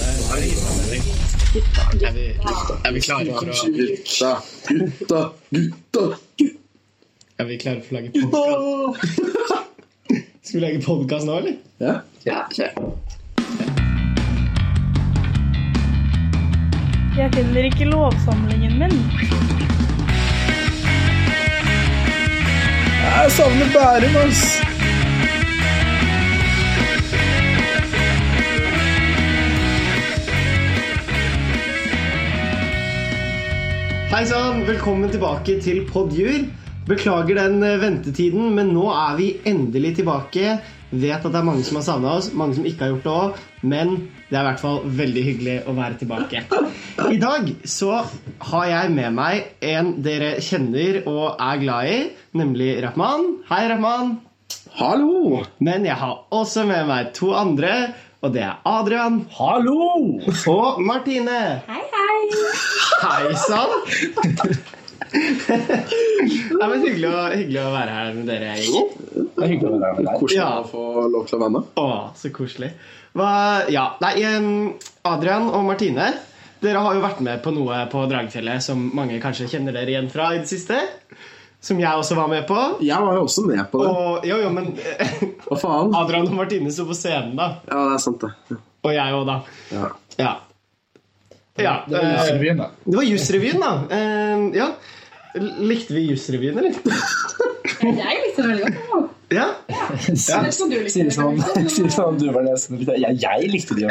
Er vi, er vi klare for å Gutta, gutta, gutta, Er vi klare for å lage podkast? gutta! Skal vi lage podkast nå, eller? Ja. Ja, kjør. Jeg finner ikke lovsamlingen min. Jeg savner Bærum, ass! Hei sann, velkommen tilbake til Podjur. Beklager den eh, ventetiden, men nå er vi endelig tilbake. Vet at det er mange som har savna oss, mange som ikke har gjort det òg, men det er i hvert fall veldig hyggelig å være tilbake. I dag så har jeg med meg en dere kjenner og er glad i, nemlig Rahman. Hei, Rahman. Hallo! Men jeg har også med meg to andre, og det er Adrian Hallo! og Martine. Hei, hei. Hei sann! Nei, men hyggelig å, hyggelig å være her med dere, gjengen. Det er hyggelig å være med deg. Koselig Ja. å få lov til å være med. Å, så koselig. Hva, ja, nei, em, Adrian og Martine, dere har jo vært med på noe på Dragefjellet som mange kanskje kjenner dere igjen fra i det siste. Som jeg også var med på. Jeg var jo også med på det. Og jo, jo, men Hva faen? Adrian og Martine sto på scenen, da. Ja, det er sant, det. Og jeg òg, da. Ja. Ja. ja eh, det var Jusrevyen, da. Eh, ja. Likte vi Jusrevyen, eller? Jeg likte det veldig godt. Ja. Ja. Det er sånn du likte Sier det som, veldig godt. sier som du var nesten jeg, jeg likte de. ja.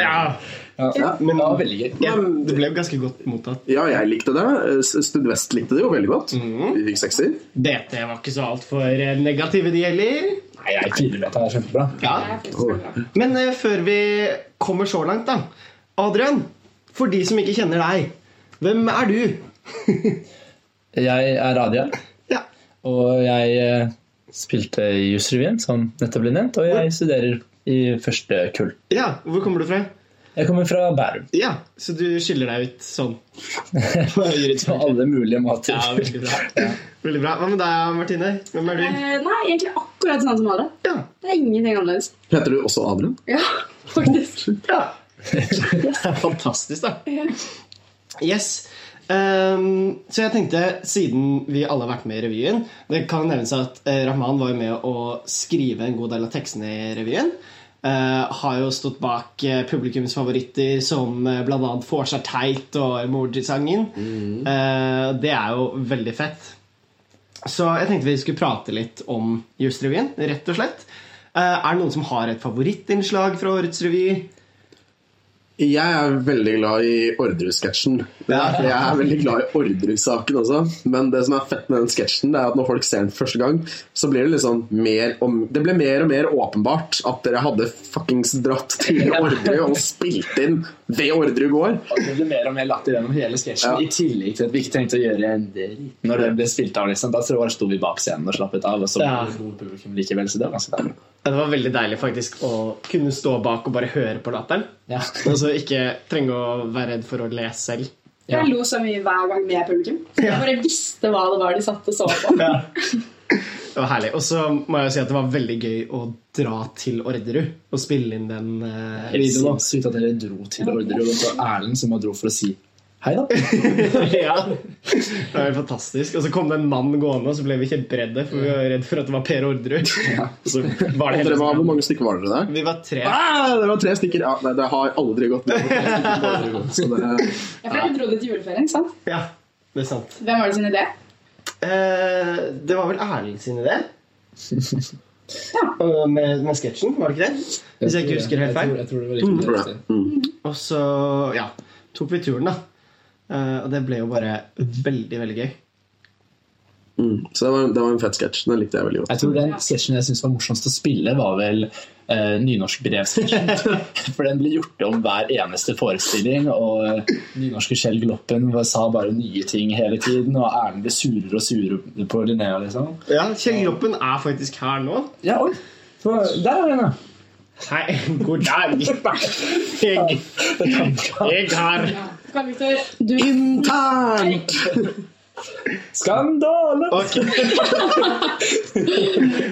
Ja. Ja, men- det var veldig gøy. Ja, det ble jo ganske godt mottatt. ja, jeg likte det. S- Studvest likte det jo veldig godt. Mhm. Vi fikk sekser. BT var ikke så altfor negative, de heller. Nei, jeg tviler på at det er kjempebra. Det er faktisk veldig godt. Men eh, før vi kommer så langt, da. Adrian, for de som ikke kjenner deg, hvem er du? Jeg er Adrian, Ja. og jeg eh, spilte i Jusrevyen, som nettopp ble nevnt, og jeg studerer i første kull. ja, hvor kommer du fra? Jeg kommer fra Bærum. Ja, Så du skiller deg ut sånn? På På høyre alle mulige måter. ja, veldig bra. Veldig bra. Hva med deg, Martine? Hvem er du? Eh, Nei, egentlig akkurat sånn som alle. Ja. Det er ingenting annerledes. Heter du også Adrian? Ja, faktisk. ja. Fantastisk, da. Yes. Ehm, så jeg tenkte, siden vi alle har vært med i revyen Det kan nevnes at eh, Rahman var jo med å skrive en god del av tekstene i revyen. Eh, har jo stått bak eh, publikums favoritter som eh, bl.a. Forsar Teit og Emoji-sangen. Eh, det er jo veldig fett. Så jeg tenkte vi skulle prate litt om Justrevyen, rett og slett. Eh, er det noen som har et favorittinnslag fra årets revy? Jeg er veldig glad i Orderud-sketsjen. Jeg er veldig glad i Orderud-saken også. Men det som er fett med den sketsjen, det er at når folk ser den første gang, så blir det liksom mer og Det ble mer og mer åpenbart at dere hadde fuckings dratt til Orderud og spilt inn ved Orderud gård. Og Det ble mer og mer latter gjennom hele sketsjen, Ja. i tillegg til at vi ikke trengte å gjøre en dritt når den ble spilt av. liksom. Da tror jeg bare sto vi bak scenen og slappet av, og så Ja. ble det god publikum likevel, så det var ganske deilig. Ja, Det var veldig deilig faktisk å kunne stå bak og bare høre på latteren. Ja. Og så ikke trenge å være redd for å le selv. Ja. Jeg lo så mye hver gang med publikum. Jeg bare visste hva det var de satt og så på. Det var herlig. Og så må jeg jo si at det var veldig gøy å dra til Orderud og spille inn den eh, videoen. også. Sinnssykt at dere dro til Orderud, og så Erlend som dro for å si hei, da. ja. Det var helt fantastisk. Og så kom det en mann gående, og så ble vi kjemperedde, for vi var redd for at det var Per Orderud. Og så var Og det dere hele var, hvor mange stykker var dere der? Vi var tre. Ah, det var tre stykker. Ja, nei, det har aldri gått ned. Så det, Ja, for dere dro det til juleferien, ikke sant? Ja, det er sant. Hvem var det sin idé? Eh, det var vel Erling sin idé? Og Med, med sketsjen, var det ikke det? Hvis jeg ikke husker helt feil. Jeg tror, jeg tror det var tror riktig. jeg. Mm. Og så, ja, tok vi turen da Eh, Og det ble jo bare veldig, veldig gøy Mm. Så det var, det var en fett sketsj. Den likte jeg veldig godt. Jeg tror den sketsjen jeg syntes var morsomst å spille, var vel eh, nynorsk brevsketsjen. For den ble gjort om hver eneste forestilling, og eh, nynorske Kjell Gloppen var- sa bare nye ting hele tiden, og Erlend ble surere og surere på Linnea, liksom. Ja, Kjell Gloppen er faktisk her nå Ja, oi! Så, der er den, ja! Hei, god dag Jeg, Det kan- jeg har Karl Viktor, du Internt! Skandale! Ok, Jeg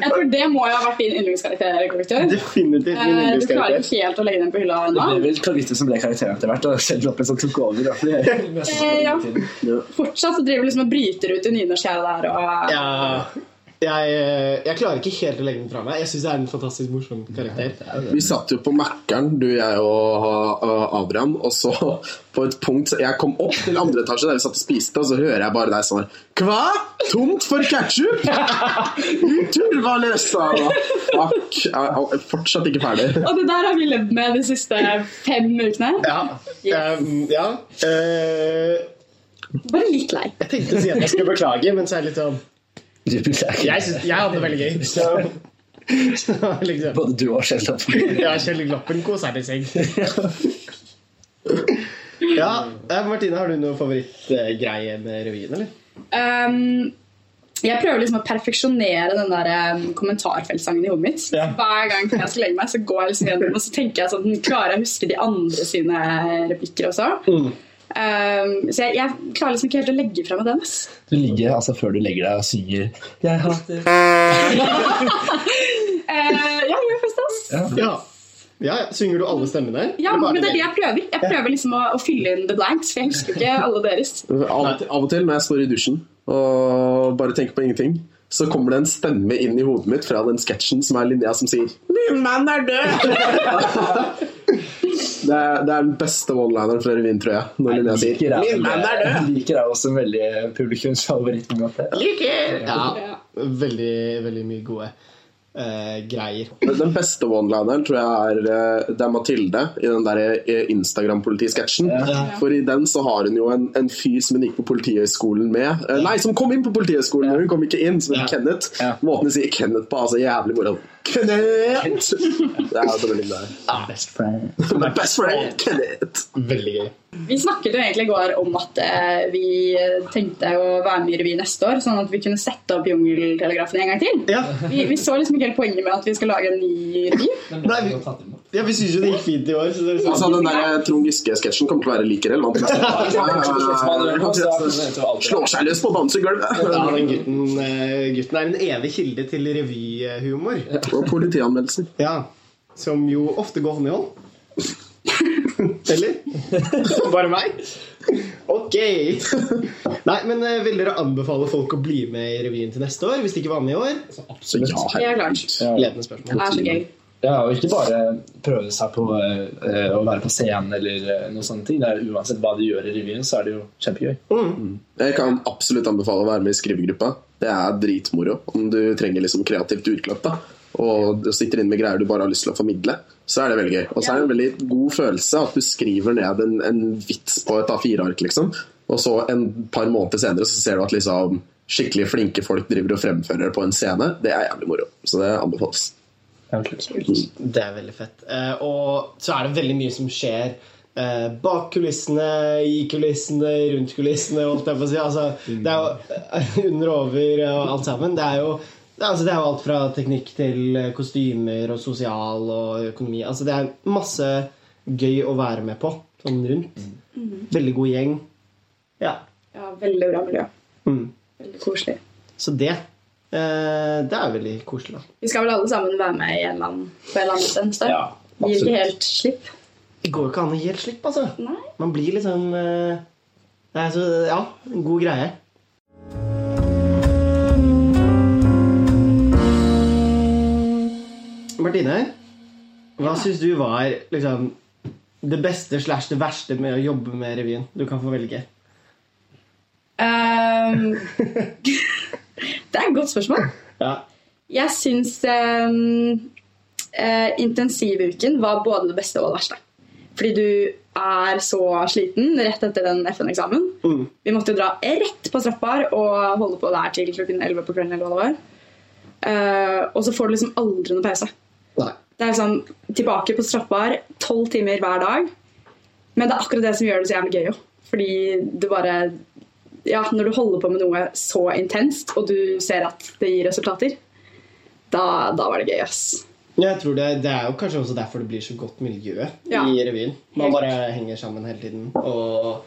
tror det må jo ha vært din yndlingskarakter. Definitivt min Eh, Du klarer yndlingskarakter. ikke helt å legge den på hylla ennå. Det ble vel Carlito som ble karakteren etter hvert, og Kjell Loppen som tok over. Da. Det er mest Eh, ja. tiden. Fortsatt så driver du liksom og bryter ut i nynorskgjerdet der. Og... Ja, jeg, eh, jeg klarer ikke helt å legge den fra meg. Jeg syns det er en fantastisk morsom karakter. Vi satt jo på Mækkern, du, jeg og uh, Adrian, og så på et punkt Jeg kom opp til andre etasje der vi satt og spiste, og så hører jeg bare deg sånn her Hva? Tomt for ketsjup? Utur, hva løste jeg da? Fuck. Jeg er fortsatt ikke ferdig. Og det der har vi levd med de siste fem ukene. Ja. em, ja. eh, Bare litt lei. jeg tenkte å si at jeg skulle beklage, men så er det litt sånn Du beklager. Jeg, synes, jeg hadde det veldig gøy. Så, så liksom Både du og Kjell Loppen. Ja, Kjell Gloppen koser seg i seng. Ja, eh, Martine, har du noe favorittgreie med revyen, eller? Um, jeg prøver liksom å perfeksjonere den der um, kommentarfeltsangen i hodet mitt. Ja. Hver gang jeg skal legge meg, så går jeg liksom gjennom og så tenker jeg sånn Klarer jeg å huske de andre sine eh, replikker også? Mm. Um, så jeg, jeg klarer liksom ikke helt å legge fra meg den. ass. Du ligger altså før du legger deg og synger 'Jeg hater Eh, ja, jeg gjør faktisk det. ass. Ja. ja, ja. Synger du alle stemmene? Ja, Eller bare men det er det den jeg prøver. Jeg prøver liksom å, å fylle inn the blanks, for jeg husker jo ikke alle deres. Av, av og til når jeg står i dusjen og bare tenker på ingenting, så kommer det en stemme inn i hodet mitt fra den sketsjen som er linja som sier Min mann er død! Det er, det er den beste one-lineren fra revyen, tror jeg. Når Linnea sier liker Min mann er død! Jeg liker deg også en veldig eh, publikumsfavoritt. på en måte. Ja, veldig, veldig mye gode eh, greier. Men Den beste one-lineren tror jeg er eh, Det er Mathilde i den der eh, Instagram-politisketsjen. For i den så har hun jo en, en fyr som hun gikk på Politihøgskolen med. Eh, Nei, som kom inn på Politihøgskolen, men hun kom ikke inn, som Ja. het Kenneth. Ja. Måten hun sier Kenneth på, er så jævlig moro. Kenneth! Det er jo så veldig der. Best friend. My best friend, Kenneth! Veldig gøy. Vi snakket jo egentlig i går om at eh, vi tenkte å være med i revy neste år, sånn at vi kunne sette opp Jungeltelegrafen en gang til. Ja, Vi, vi så liksom ikke helt poenget med at vi skal lage en ny revy. Nei, vi, ja, vi syns jo det gikk fint i år. Så det er liksom, Altså, den der Trond Giske-sketsjen kommer til å være like relevant. neste år. Ja, ja, ja, ja. Slår seg løs på dansegulvet! ja, den gutten, eh, gutten er en evig kilde til revyhumor. Og politianmeldelser. Ja. Som jo ofte går hånd i hånd. Eller? Bare meg? Ok. Nei, men eh, vil dere anbefale folk å bli med i revyen til neste år? Hvis de ikke var med i år? Så ja, Det er klart. Ja. Ledende spørsmål. Det er så gøy. Ja, og ikke bare prøve seg på eh, å være på scenen eller eh, noe sånne ting. Det er, uansett hva du gjør i revyen, så er det jo kjempegøy. Mm. Jeg kan absolutt anbefale å være med i skrivegruppa. Det er dritmoro om du trenger liksom kreativt utløp. da og du sitter inne med greier du bare har lyst til å formidle, så er det veldig gøy. Og så er det en veldig god følelse at du skriver ned en, en vits på et A4-ark, liksom. Og så en par måneder senere så ser du at liksom skikkelig flinke folk driver og fremfører det på en scene. Det er jævlig moro. Så det anbefales. Ja, kult. Det er veldig fett. Eh, og så er det veldig mye som skjer eh, bak kulissene, i kulissene, rundt kulissene, holdt jeg på å si. Altså, det er jo under og over og alt sammen. Det er jo Altså, det er jo alt fra teknikk til eh, kostymer og sosial og økonomi. Altså, det er masse gøy å være med på sånn rundt. Veldig god gjeng. Ja. Ja, veldig bra miljø. Mm. Veldig koselig. Så det eh, Det er veldig koselig, da. Vi skal vel alle sammen være med i en eller annen, på en eller annen måte neste år. Ja, Gir absolutt. ikke helt slipp. Det går jo ikke an å gi helt slipp, altså. Nei. Man blir liksom eh, det er så, Ja, en god greie. Martine, hva syns du var liksom, det beste slash det verste med å jobbe med revyen? Du kan få velge. Ehm, det er et godt spørsmål. Ja. Jeg syns ehm, eh, intensivuken var både det beste og det verste. Fordi du er så sliten rett etter den FN-eksamen. Mm. Vi måtte jo dra rett på straffbar og holde på der til klokken 11 på kvelden. eller hva det var. Eh, og så får du liksom aldri noe pause. Nei. Det er liksom tilbake på straffbar tolv timer hver dag. Men det er akkurat det som gjør det så jævlig gøy. jo. Fordi du bare Ja, når du holder på med noe så intenst, og du ser at det gir resultater, da, da var det gøy, ass. Jeg tror det, det er jo kanskje også derfor det blir så godt miljø Ja. i revyen. Man Helt. bare henger sammen hele tiden og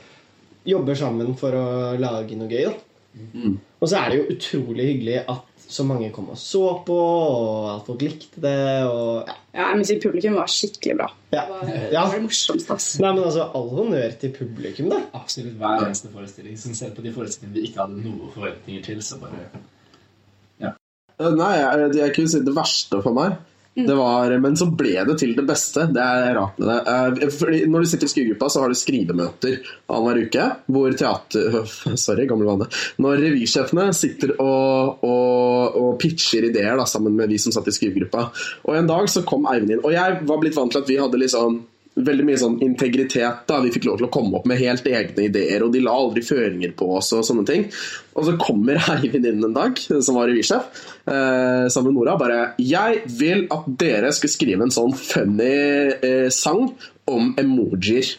jobber sammen for å lage noe gøy. Da. Og så er det jo utrolig hyggelig at så mange kom og så på, og at folk likte det. og ja. Ja, men sitt publikum var skikkelig bra. Ja. Det var, det Ja. var det morsomste, ass. Nei, men altså, All honnør til publikum, da. Absolutt hver eneste forestilling. Som selv på de forestillingene vi ikke hadde noen forventninger til, så bare Eh, Nei, jeg, jeg kunne si det verste for meg. Det var, men så ble det til det beste. Det er rart med det. Eh, Fordi når du sitter i skrivegruppa, så har du skrivemøter annenhver uke. Hvor teater... Sorry, gammel vane. Når revysjefene sitter og, og, og pitcher ideer da, sammen med vi som satt i skrivegruppa. Og en dag så kom Eivind inn. Og jeg var blitt vant til at vi hadde liksom veldig mye sånn integritet. da, Vi fikk lov til å komme opp med helt egne ideer, og de la aldri føringer på oss. Og sånne ting. Og så kommer Eivind inn en dag, som var revysjef, eh, sammen med Nora, bare 'Jeg vil at dere skal skrive en sånn funny eh, sang om emojier'.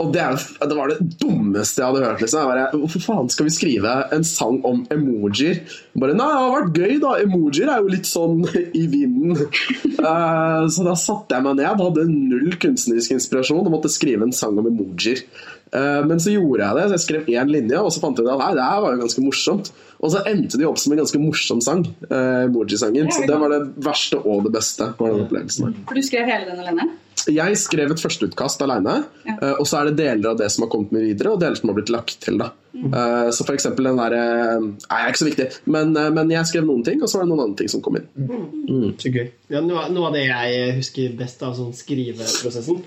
Og det, er, det var det dummeste jeg hadde hørt. Liksom. Jeg bare, Hvorfor faen skal vi skrive en sang om emojier? Bare, Nei, det har vært gøy, da. Emojier er jo litt sånn i vinden. Eh, så da satte jeg meg ned, hadde null kunstnerisk inspirasjon og måtte skrive en sang om emojier. Eh, men så gjorde jeg det, så jeg skrev én linje, og så fant jeg ut at nei, det her var jo ganske morsomt. Og så endte det jo opp som en ganske morsom sang, eh, emoji-sangen. Så det var det verste og det beste. Var den opplevelsen her. For du skrev hele den alene? Jeg skrev et førsteutkast alene, Ja. eh, og så er det deler av det som har kommet med videre, og deler som har blitt lagt til. da. Eh, Så for eksempel den derre eh, Nei, det er ikke så viktig, men, eh, men jeg skrev noen ting, og så var det noen andre ting som kom inn. Så gøy. Ja, noe, av- noe av det jeg husker best av sånn skriveprosessen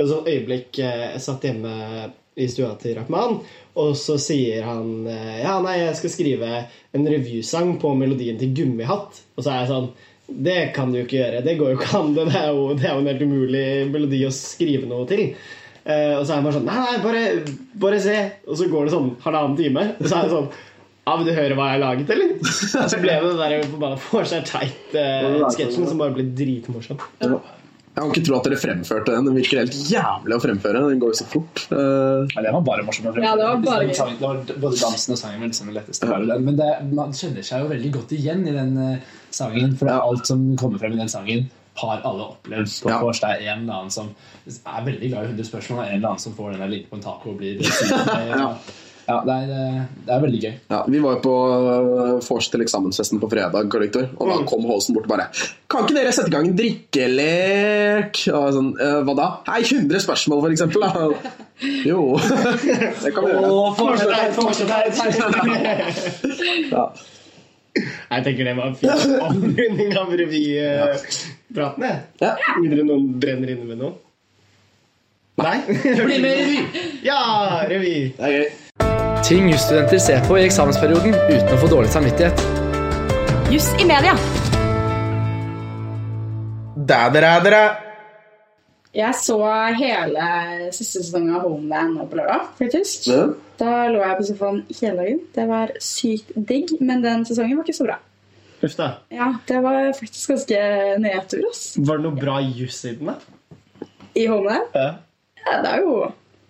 Et sånt øyeblikk eh, jeg satt hjemme i stua til Rahman, og så sier han eh, Ja, nei, jeg skal skrive en revysang på melodien til Gummihatt. Og så er jeg sånn Det kan du jo ikke gjøre. Det går jo ikke an. Det er jo, det er jo en helt umulig melodi å skrive noe til. Eh, og så er han bare sånn Nei, nei, bare, bare se. Og så går det sånn halvannen time. Og så er jeg sånn Ja, vil du høre hva jeg har laget, eller? Og så ble det den der forbanna Forsegg eh, Teit-sketsjen som bare ble dritmorsom. Jeg kan ikke tro at dere fremførte den. Den virker helt jævlig å fremføre. Den går jo så fort. Eh, Ja, det var bare morsomt. å fremføre. Ja, det var bare Den sangen- det var både dansen og sangen var liksom det letteste. Bare den. Men det, man kjenner seg jo veldig godt igjen i den eh, sangen. For det er alt som kommer frem i den sangen, har alle opplevd på Ja. vors. Det er en eller annen som er veldig glad i 100 spørsmål, og en eller annen som får den der liten på en taco og blir ja. ja, det er, eh, det er veldig gøy. ja, vi var jo på eh, vors til eksamensfesten på fredag, Karl Viktor, og da kom Holsen bort og bare 'Kan ikke dere sette i gang en drikkelek?' Og jeg sånn, «Eh, hva da? Hei, 100 spørsmål, for eksempel. Da. Jo, det kan vi gjøre. Ja. Jeg tenker det var en fin avrunding av revypraten. jeg. Ja. Mindre noen brenner inne med noe. Nei? Bli med i revy! Ja, revy! Det er gøy. Ting jusstudenter ser på i eksamensperioden uten å få dårlig samvittighet. Juss i media. Jeg så hele siste sesong av Homeland nå på lørdag, faktisk. Ja. Da lå jeg på sofaen hele dagen. Det var sykt digg, men den sesongen var ikke så bra. Uff da. Ja, Det var faktisk ganske nedtur, ass. Var det noe bra juss i den, da? I Homeland. Ja. Ja, det er jo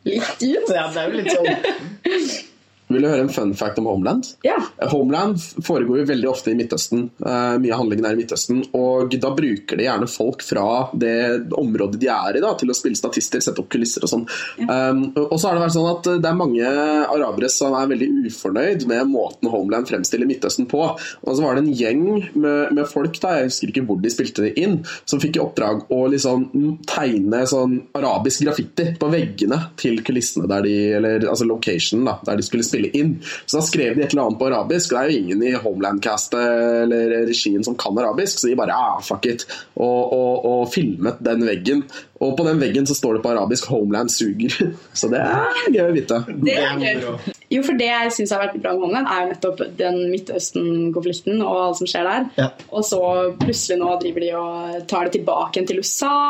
litt dyrt. Så ja, det er jo litt sånn Vil du høre en fun fact om Homeland? Ja. Homeland foregår jo veldig ofte i Midtøsten. Eh, mye av handlingen er i Midtøsten. Og da bruker de gjerne folk fra det området de er i, da, til å spille statister, sette opp kulisser og sånn. Um, og så har det vært sånn at det er mange arabere som er veldig ufornøyd med måten Homeland fremstiller Midtøsten på. Og så var det en gjeng med, med folk, da, jeg husker ikke hvor de spilte det inn, som fikk i oppdrag å liksom mm, tegne sånn arabisk graffiti på veggene til kulissene der de Eller altså locationen, da, der de skulle spille inn. Så da skrev de et eller annet på arabisk, og det er jo ingen i Homeland-castet eller regien som kan arabisk, så de bare ah, fuck it, og, og, og filmet den veggen. Og på den veggen så står det på arabisk 'Homeland suger'. Så det er gøy å vite. Det er det gøy. er moro. Jo, for det jeg syns har vært bra med Homeland, er jo nettopp den Midtøsten-konflikten og alt som skjer der. Ja. Og så plutselig nå driver de og tar det tilbake igjen til USA.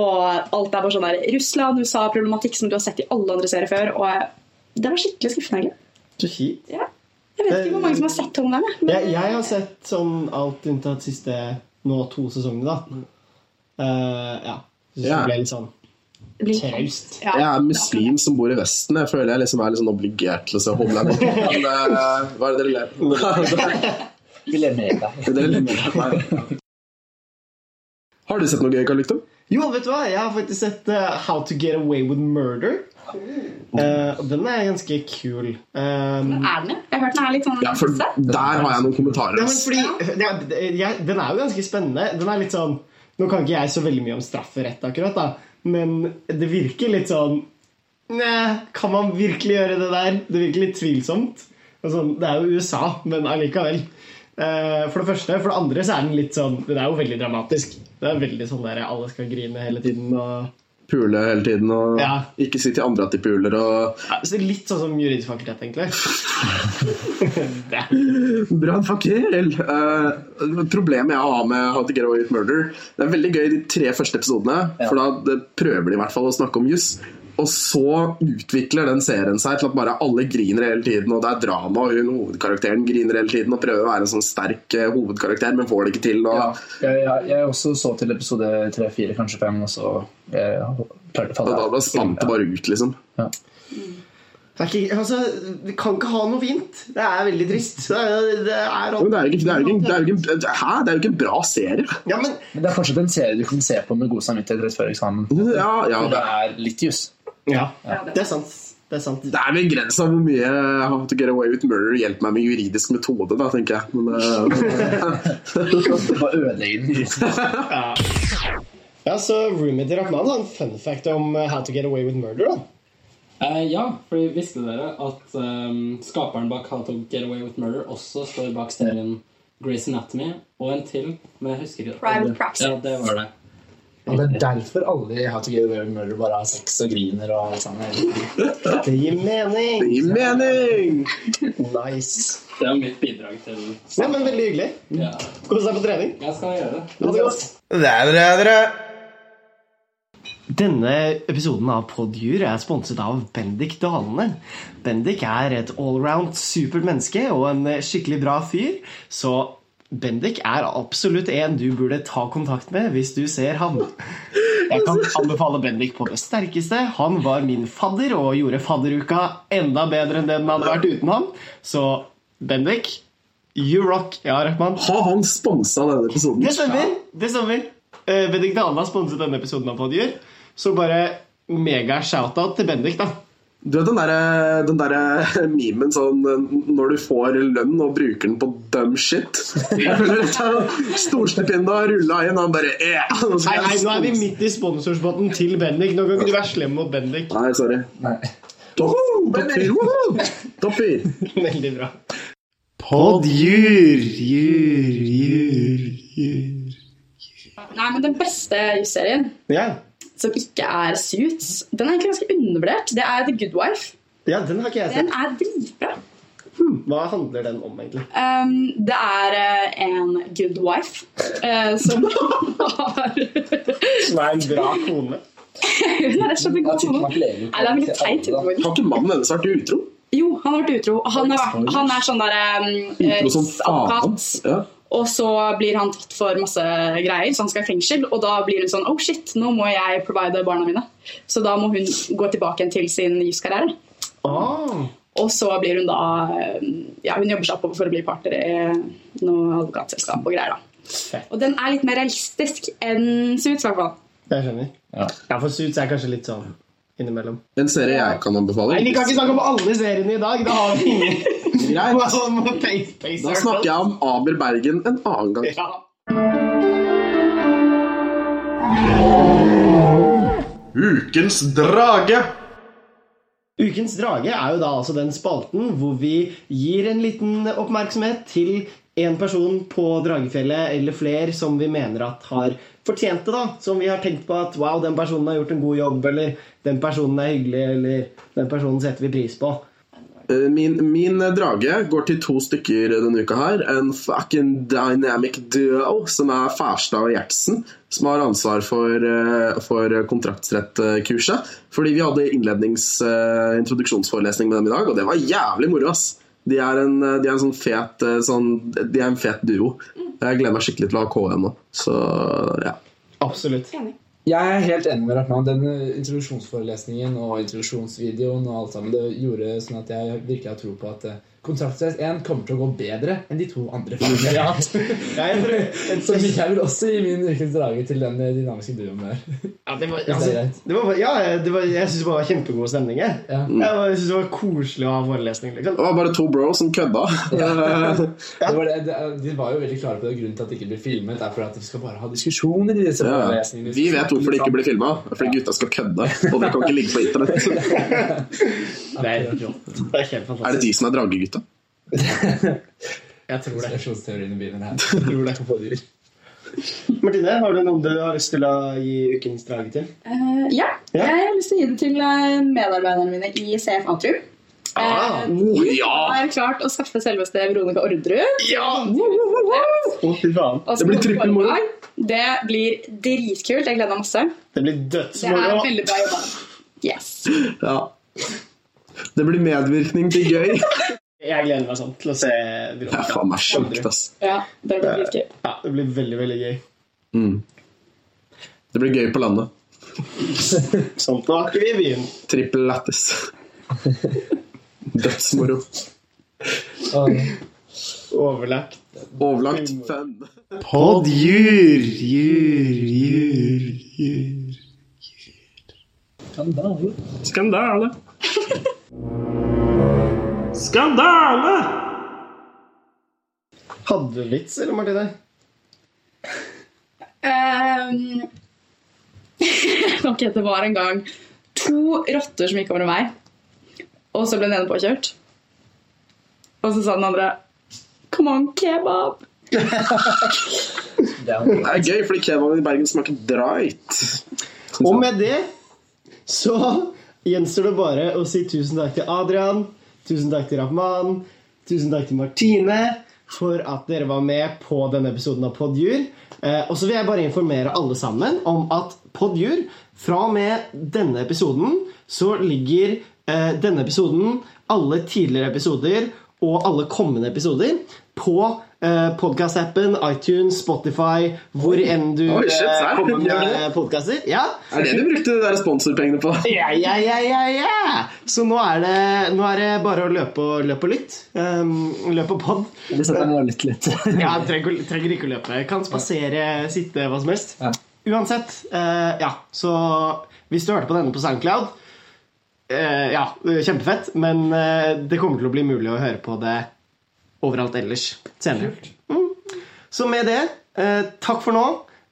Og alt er bare sånn der Russland-USA-problematikk som du har sett i alle andre serier før. Og det var skikkelig skuffende, egentlig. Så kjipt. Ja. Jeg vet ikke hvor mange som har sett Homeland, jeg, men Jeg, jeg har sett sånn alt unntatt siste nå to sesongene, da. Eh, ja. Jeg synes Ja. det ble litt sånn det blir traust. ja. Jeg er muslim som bor i Vesten. Jeg føler jeg liksom er litt sånn obligert til å se Homeland. Men, eh, hva er det dere ler av? Vi lever med deg. Dere ler? Har du sett noe gøy, Karl Victor? Jo, vet du hva? Jeg har faktisk sett eh, How to Get Away with Murder. Eh, og den er ganske kul. Um, Er den det? Jeg har hørt den er litt sånn Ja, for søt. der har jeg noen kommentarer. Ja, men ass. fordi, ja, d- jeg, den er jo ganske spennende. Den er litt sånn Nå kan ikke jeg så veldig mye om strafferett, akkurat, da, men det virker litt sånn Nei, kan man virkelig gjøre det der? Det virker litt tvilsomt. Altså, det er jo USA, men allikevel. Eh, For det første. For det andre så er den litt sånn Den er jo veldig dramatisk. Det er veldig sånn der alle skal grine hele tiden. Og, Pule hele tiden og Ja. ikke si til andre at de puler og ja, så litt sånn som juridisk fakultet, egentlig. det er Bra fakkel! Eh, problemet jeg har med How to Get Away with Murder Det er veldig gøy de tre første episodene, for da det, prøver de i hvert fall å snakke om juss. Og så utvikler den serien seg til at bare alle griner hele tiden, og det er drama, og hun hovedkarakteren griner hele tiden og prøver å være en sånn sterk eh, hovedkarakter, men får det ikke til. Og Ja, jeg, jeg, jeg også så til episode tre, fire, kanskje fem, og så eh, klarte og å falle da, da spant det bare ut, liksom. Det, er ikke, altså, det kan ikke ha noe fint. Det er veldig trist. Det er, det er Men det er jo ikke, det er jo ikke, det er jo ikke, hæ? Det er jo ikke en bra serie! Ja, men Men det er fortsatt en serie du kan se på med god samvittighet rett før eksamen. Ja, ja, Og det det er litt juss. ja, Ja, det- det er sant. Det er sant. det er begrensa hvor mye How to Get Away with Murder hjelper meg med juridisk metode, da, tenker jeg. Men, eh, Det var ødeleggende. Ja, så Roommate til Rahman har en fun fact om eh, How to Get Away with Murder. da. Eh, ja, for visste dere at ehm, skaperen bak How to Get Away with Murder også står bak serien Grey's Anatomy og en til, men jeg husker ikke. Private Practice. Ja, det var det. Og det er derfor alle i How to Get Away with Murder bare har sex og griner og alt sammen. Det gir mening! Gi mening! Nice. Det var mitt bidrag til Ja, men Veldig hyggelig. ja. Kos deg på trening. Jeg skal gjøre det. Ha det godt. Denne episoden av Poddjur er sponset av Bendik Dalene. Bendik er et allround supert menneske og en skikkelig bra fyr, så Bendik er absolutt en du burde ta kontakt med hvis du ser han. Jeg kan anbefale Bendik på det sterkeste. Han var min fadder og gjorde fadderuka enda bedre enn det den hadde vært uten ham. Så Bendik, you rock. Ja, Rahman. Har han sponsa denne episoden? Det stemmer. det stemmer Eh, Bendik Dalen har sponset denne episoden av Podgjør. Så bare mega shoutout til Bendik, da. Du vet den derre den der memen sånn eh, når du får lønn og bruker den på dumb shit? Jeg føler litt av Storstipenda rulla inn, han bare "Eh, yeah. Nå Nei, skal nei, jeg Nå er vi sponse. midt i sponsorspotten til Bendik. Nå kan ikke du være slem mot Bendik. Nei, sorry. Topp- Topper! woho! Topper! Veldig bra. Podgjør, jur, jur, jur. Nei, men den beste jusserien, Ja. som ikke er Suits, den er egentlig ganske undervurdert. Det er The Good Wife. ja, den har ikke jeg Den sett. er dritbra. Hva handler den om, egentlig? Um, det er eh, en good wife eh, som har Som er en bra kone. Hun er rett og slett en god kone. Nei, det er veldig teit. utgangspunkt. Har ikke mannen hennes vært utro? Jo, han har vært utro. Han, har vært, han er sånn der um, eh, Utro som faen. advokat. Ja. Og så blir han tatt for masse greier, så han skal i fengsel. Og da blir hun sånn Oh shit, nå må jeg provide barna mine. Så da må hun gå tilbake igjen til sin juskarriere. Ah. Og så blir hun da eh, Ja, hun jobber seg oppover for å bli partner i noe advokatselskap og greier, da. Og den er litt mer realistisk enn Suits, i hvert fall. Jeg skjønner. Ja. Ja, for Suits er kanskje litt sånn innimellom. En serie jeg kan anbefale. Nei, Vi kan ikke snakke om alle seriene i dag. Da har vi ingen. Greit. Pace, pace, Da snakker jeg om Aber Bergen en annen gang. Ja. Ukens drage. Ukens drage er jo da altså den spalten hvor vi gir en liten oppmerksomhet til en person på Dragefjellet eller flere som vi mener at har fortjent det, da. Som vi har tenkt på at wow, den personen har gjort en god jobb, eller den personen er hyggelig, eller den personen setter vi pris på. Eh, Min, min drage går til to stykker denne uka her. En fucking dynamic duo som er Færstad og Gjertsen, som har ansvar for, eh, for kontraktsrettkurset. Fordi vi hadde innlednings eh, introduksjonsforelesning med dem i dag, og det var jævlig moro, ass. De er en, eh, de er en sånn fet eh, sånn, De er en fet duo. Jeg gleder meg skikkelig til å ha KM nå. Så ja. Absolutt. Jeg er helt enig med Rahman. Den eh, introduksjonsforelesningen og introduksjonsvideoen og alt sammen, det gjorde sånn at jeg virkelig har tro på at eh, Kontraktsteist 1 kommer til å gå bedre enn de to andre filmene. vi har hatt. Jeg, Så jeg vil også gi min ukens drage til den eh, dynamiske duoen der. ja, det var, Hvis det er altså, greit. det var, ja, det var, jeg syns det var kjempegod stemning. Jeg, Ja. jeg var- jeg synes det var koselig å ha forelesning. Liksom. Det var bare to bros som kødda. Det var det, det, de var jo veldig klare på det grunnen til at det ikke ble filmet. er for at vi skal bare ha diskusjoner i disse Ja. forelesningene. Vi vet hvorfor det ikke blir filma. Fordi gutta skal kødde. Og det kan ikke ligge på internett. Det er rått. Det er helt Er det fantastisk. de som er dragegutta? Jeg tror det. Konspirasjonsteorien begynner her. Tror det. Martine, har du noen du har lyst til å gi ukens drage til? Eh, ja. Ja. Jeg har lyst til å gi det til eh, medarbeiderne mine i CF Atrium. Ah, Eh, de ja. har klart å skaffe selveste Veronica Orderud. Ja! Og Å, fy faen. så Det blir på trippel moro. foredrag. Det blir dritkult. Jeg gleder meg masse. Det blir Det er dødsmoro. veldig bra jobba. Yes. Ja. Det blir medvirkning til gøy. Jeg gleder meg sånn til å se Det er Veronica. faen meg sjukt, ass. Ja, det blir dritgøy. Ja, det blir veldig, veldig gøy. Mm. Det blir gøy på landet. Sånn, nå er ikke vi i byen. Trippel lættis. Dødsmoro. Overlagt. Overlagt fan. Poddjur, jur, jur, jur. Skandale. Skandale! Hadde du vits, eller, Martine? Ehm, ok, det var en gang to rotter som gikk over en vei. Og så ble den ene påkjørt. Og så sa den andre Come on, kebab! Det er gøy, fordi kebaben i Bergen smaker dreit. Sånn. Og med det så gjenstår det bare å si tusen takk til Adrian, tusen takk til Rahman, tusen takk til Martine for at dere var med på denne episoden av Podjur. Eh, og så vil jeg bare informere alle sammen om at Podjur, fra og med denne episoden, så ligger eh, denne episoden, alle tidligere episoder og alle kommende episoder på eh, podkastappen, iTunes, Spotify, hvor enn du Oi, shit, eh, serr? kommer Gjør det? med podkaster. Ja. Er det det du brukte de der sponsorpengene på? Ja, ja, ja, ja, ja. Så nå er det, nå er det bare å løpe og, løpe og lytte. Um, løpe og pod. Det setter meg litt litt. Ja, trenger, trenger ikke å løpe. Kan spasere, sitte, hva som helst. Ja. Uansett. eh, ja, så hvis du hørte på denne på SoundCloud eh, Ja, kjempefett, men eh, det kommer til å bli mulig å høre på det overalt ellers senere. Mm. Så med det, eh, takk for nå.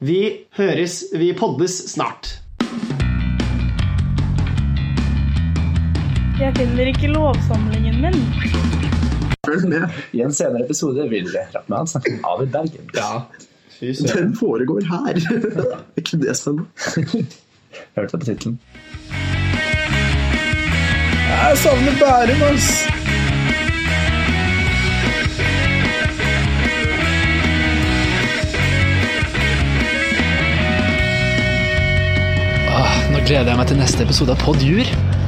Vi høres, vi poddes snart. Jeg finner ikke lovsamlingen min. Følg med. I en senere episode vil Rappmann snakke om Avid Bergen. Fy søren. Den foregår her. Er ikke det spennende? Hørte jeg på tittelen. Jeg savner Bærum, ass. Ah, Nå gleder jeg meg til neste episode av Podjur.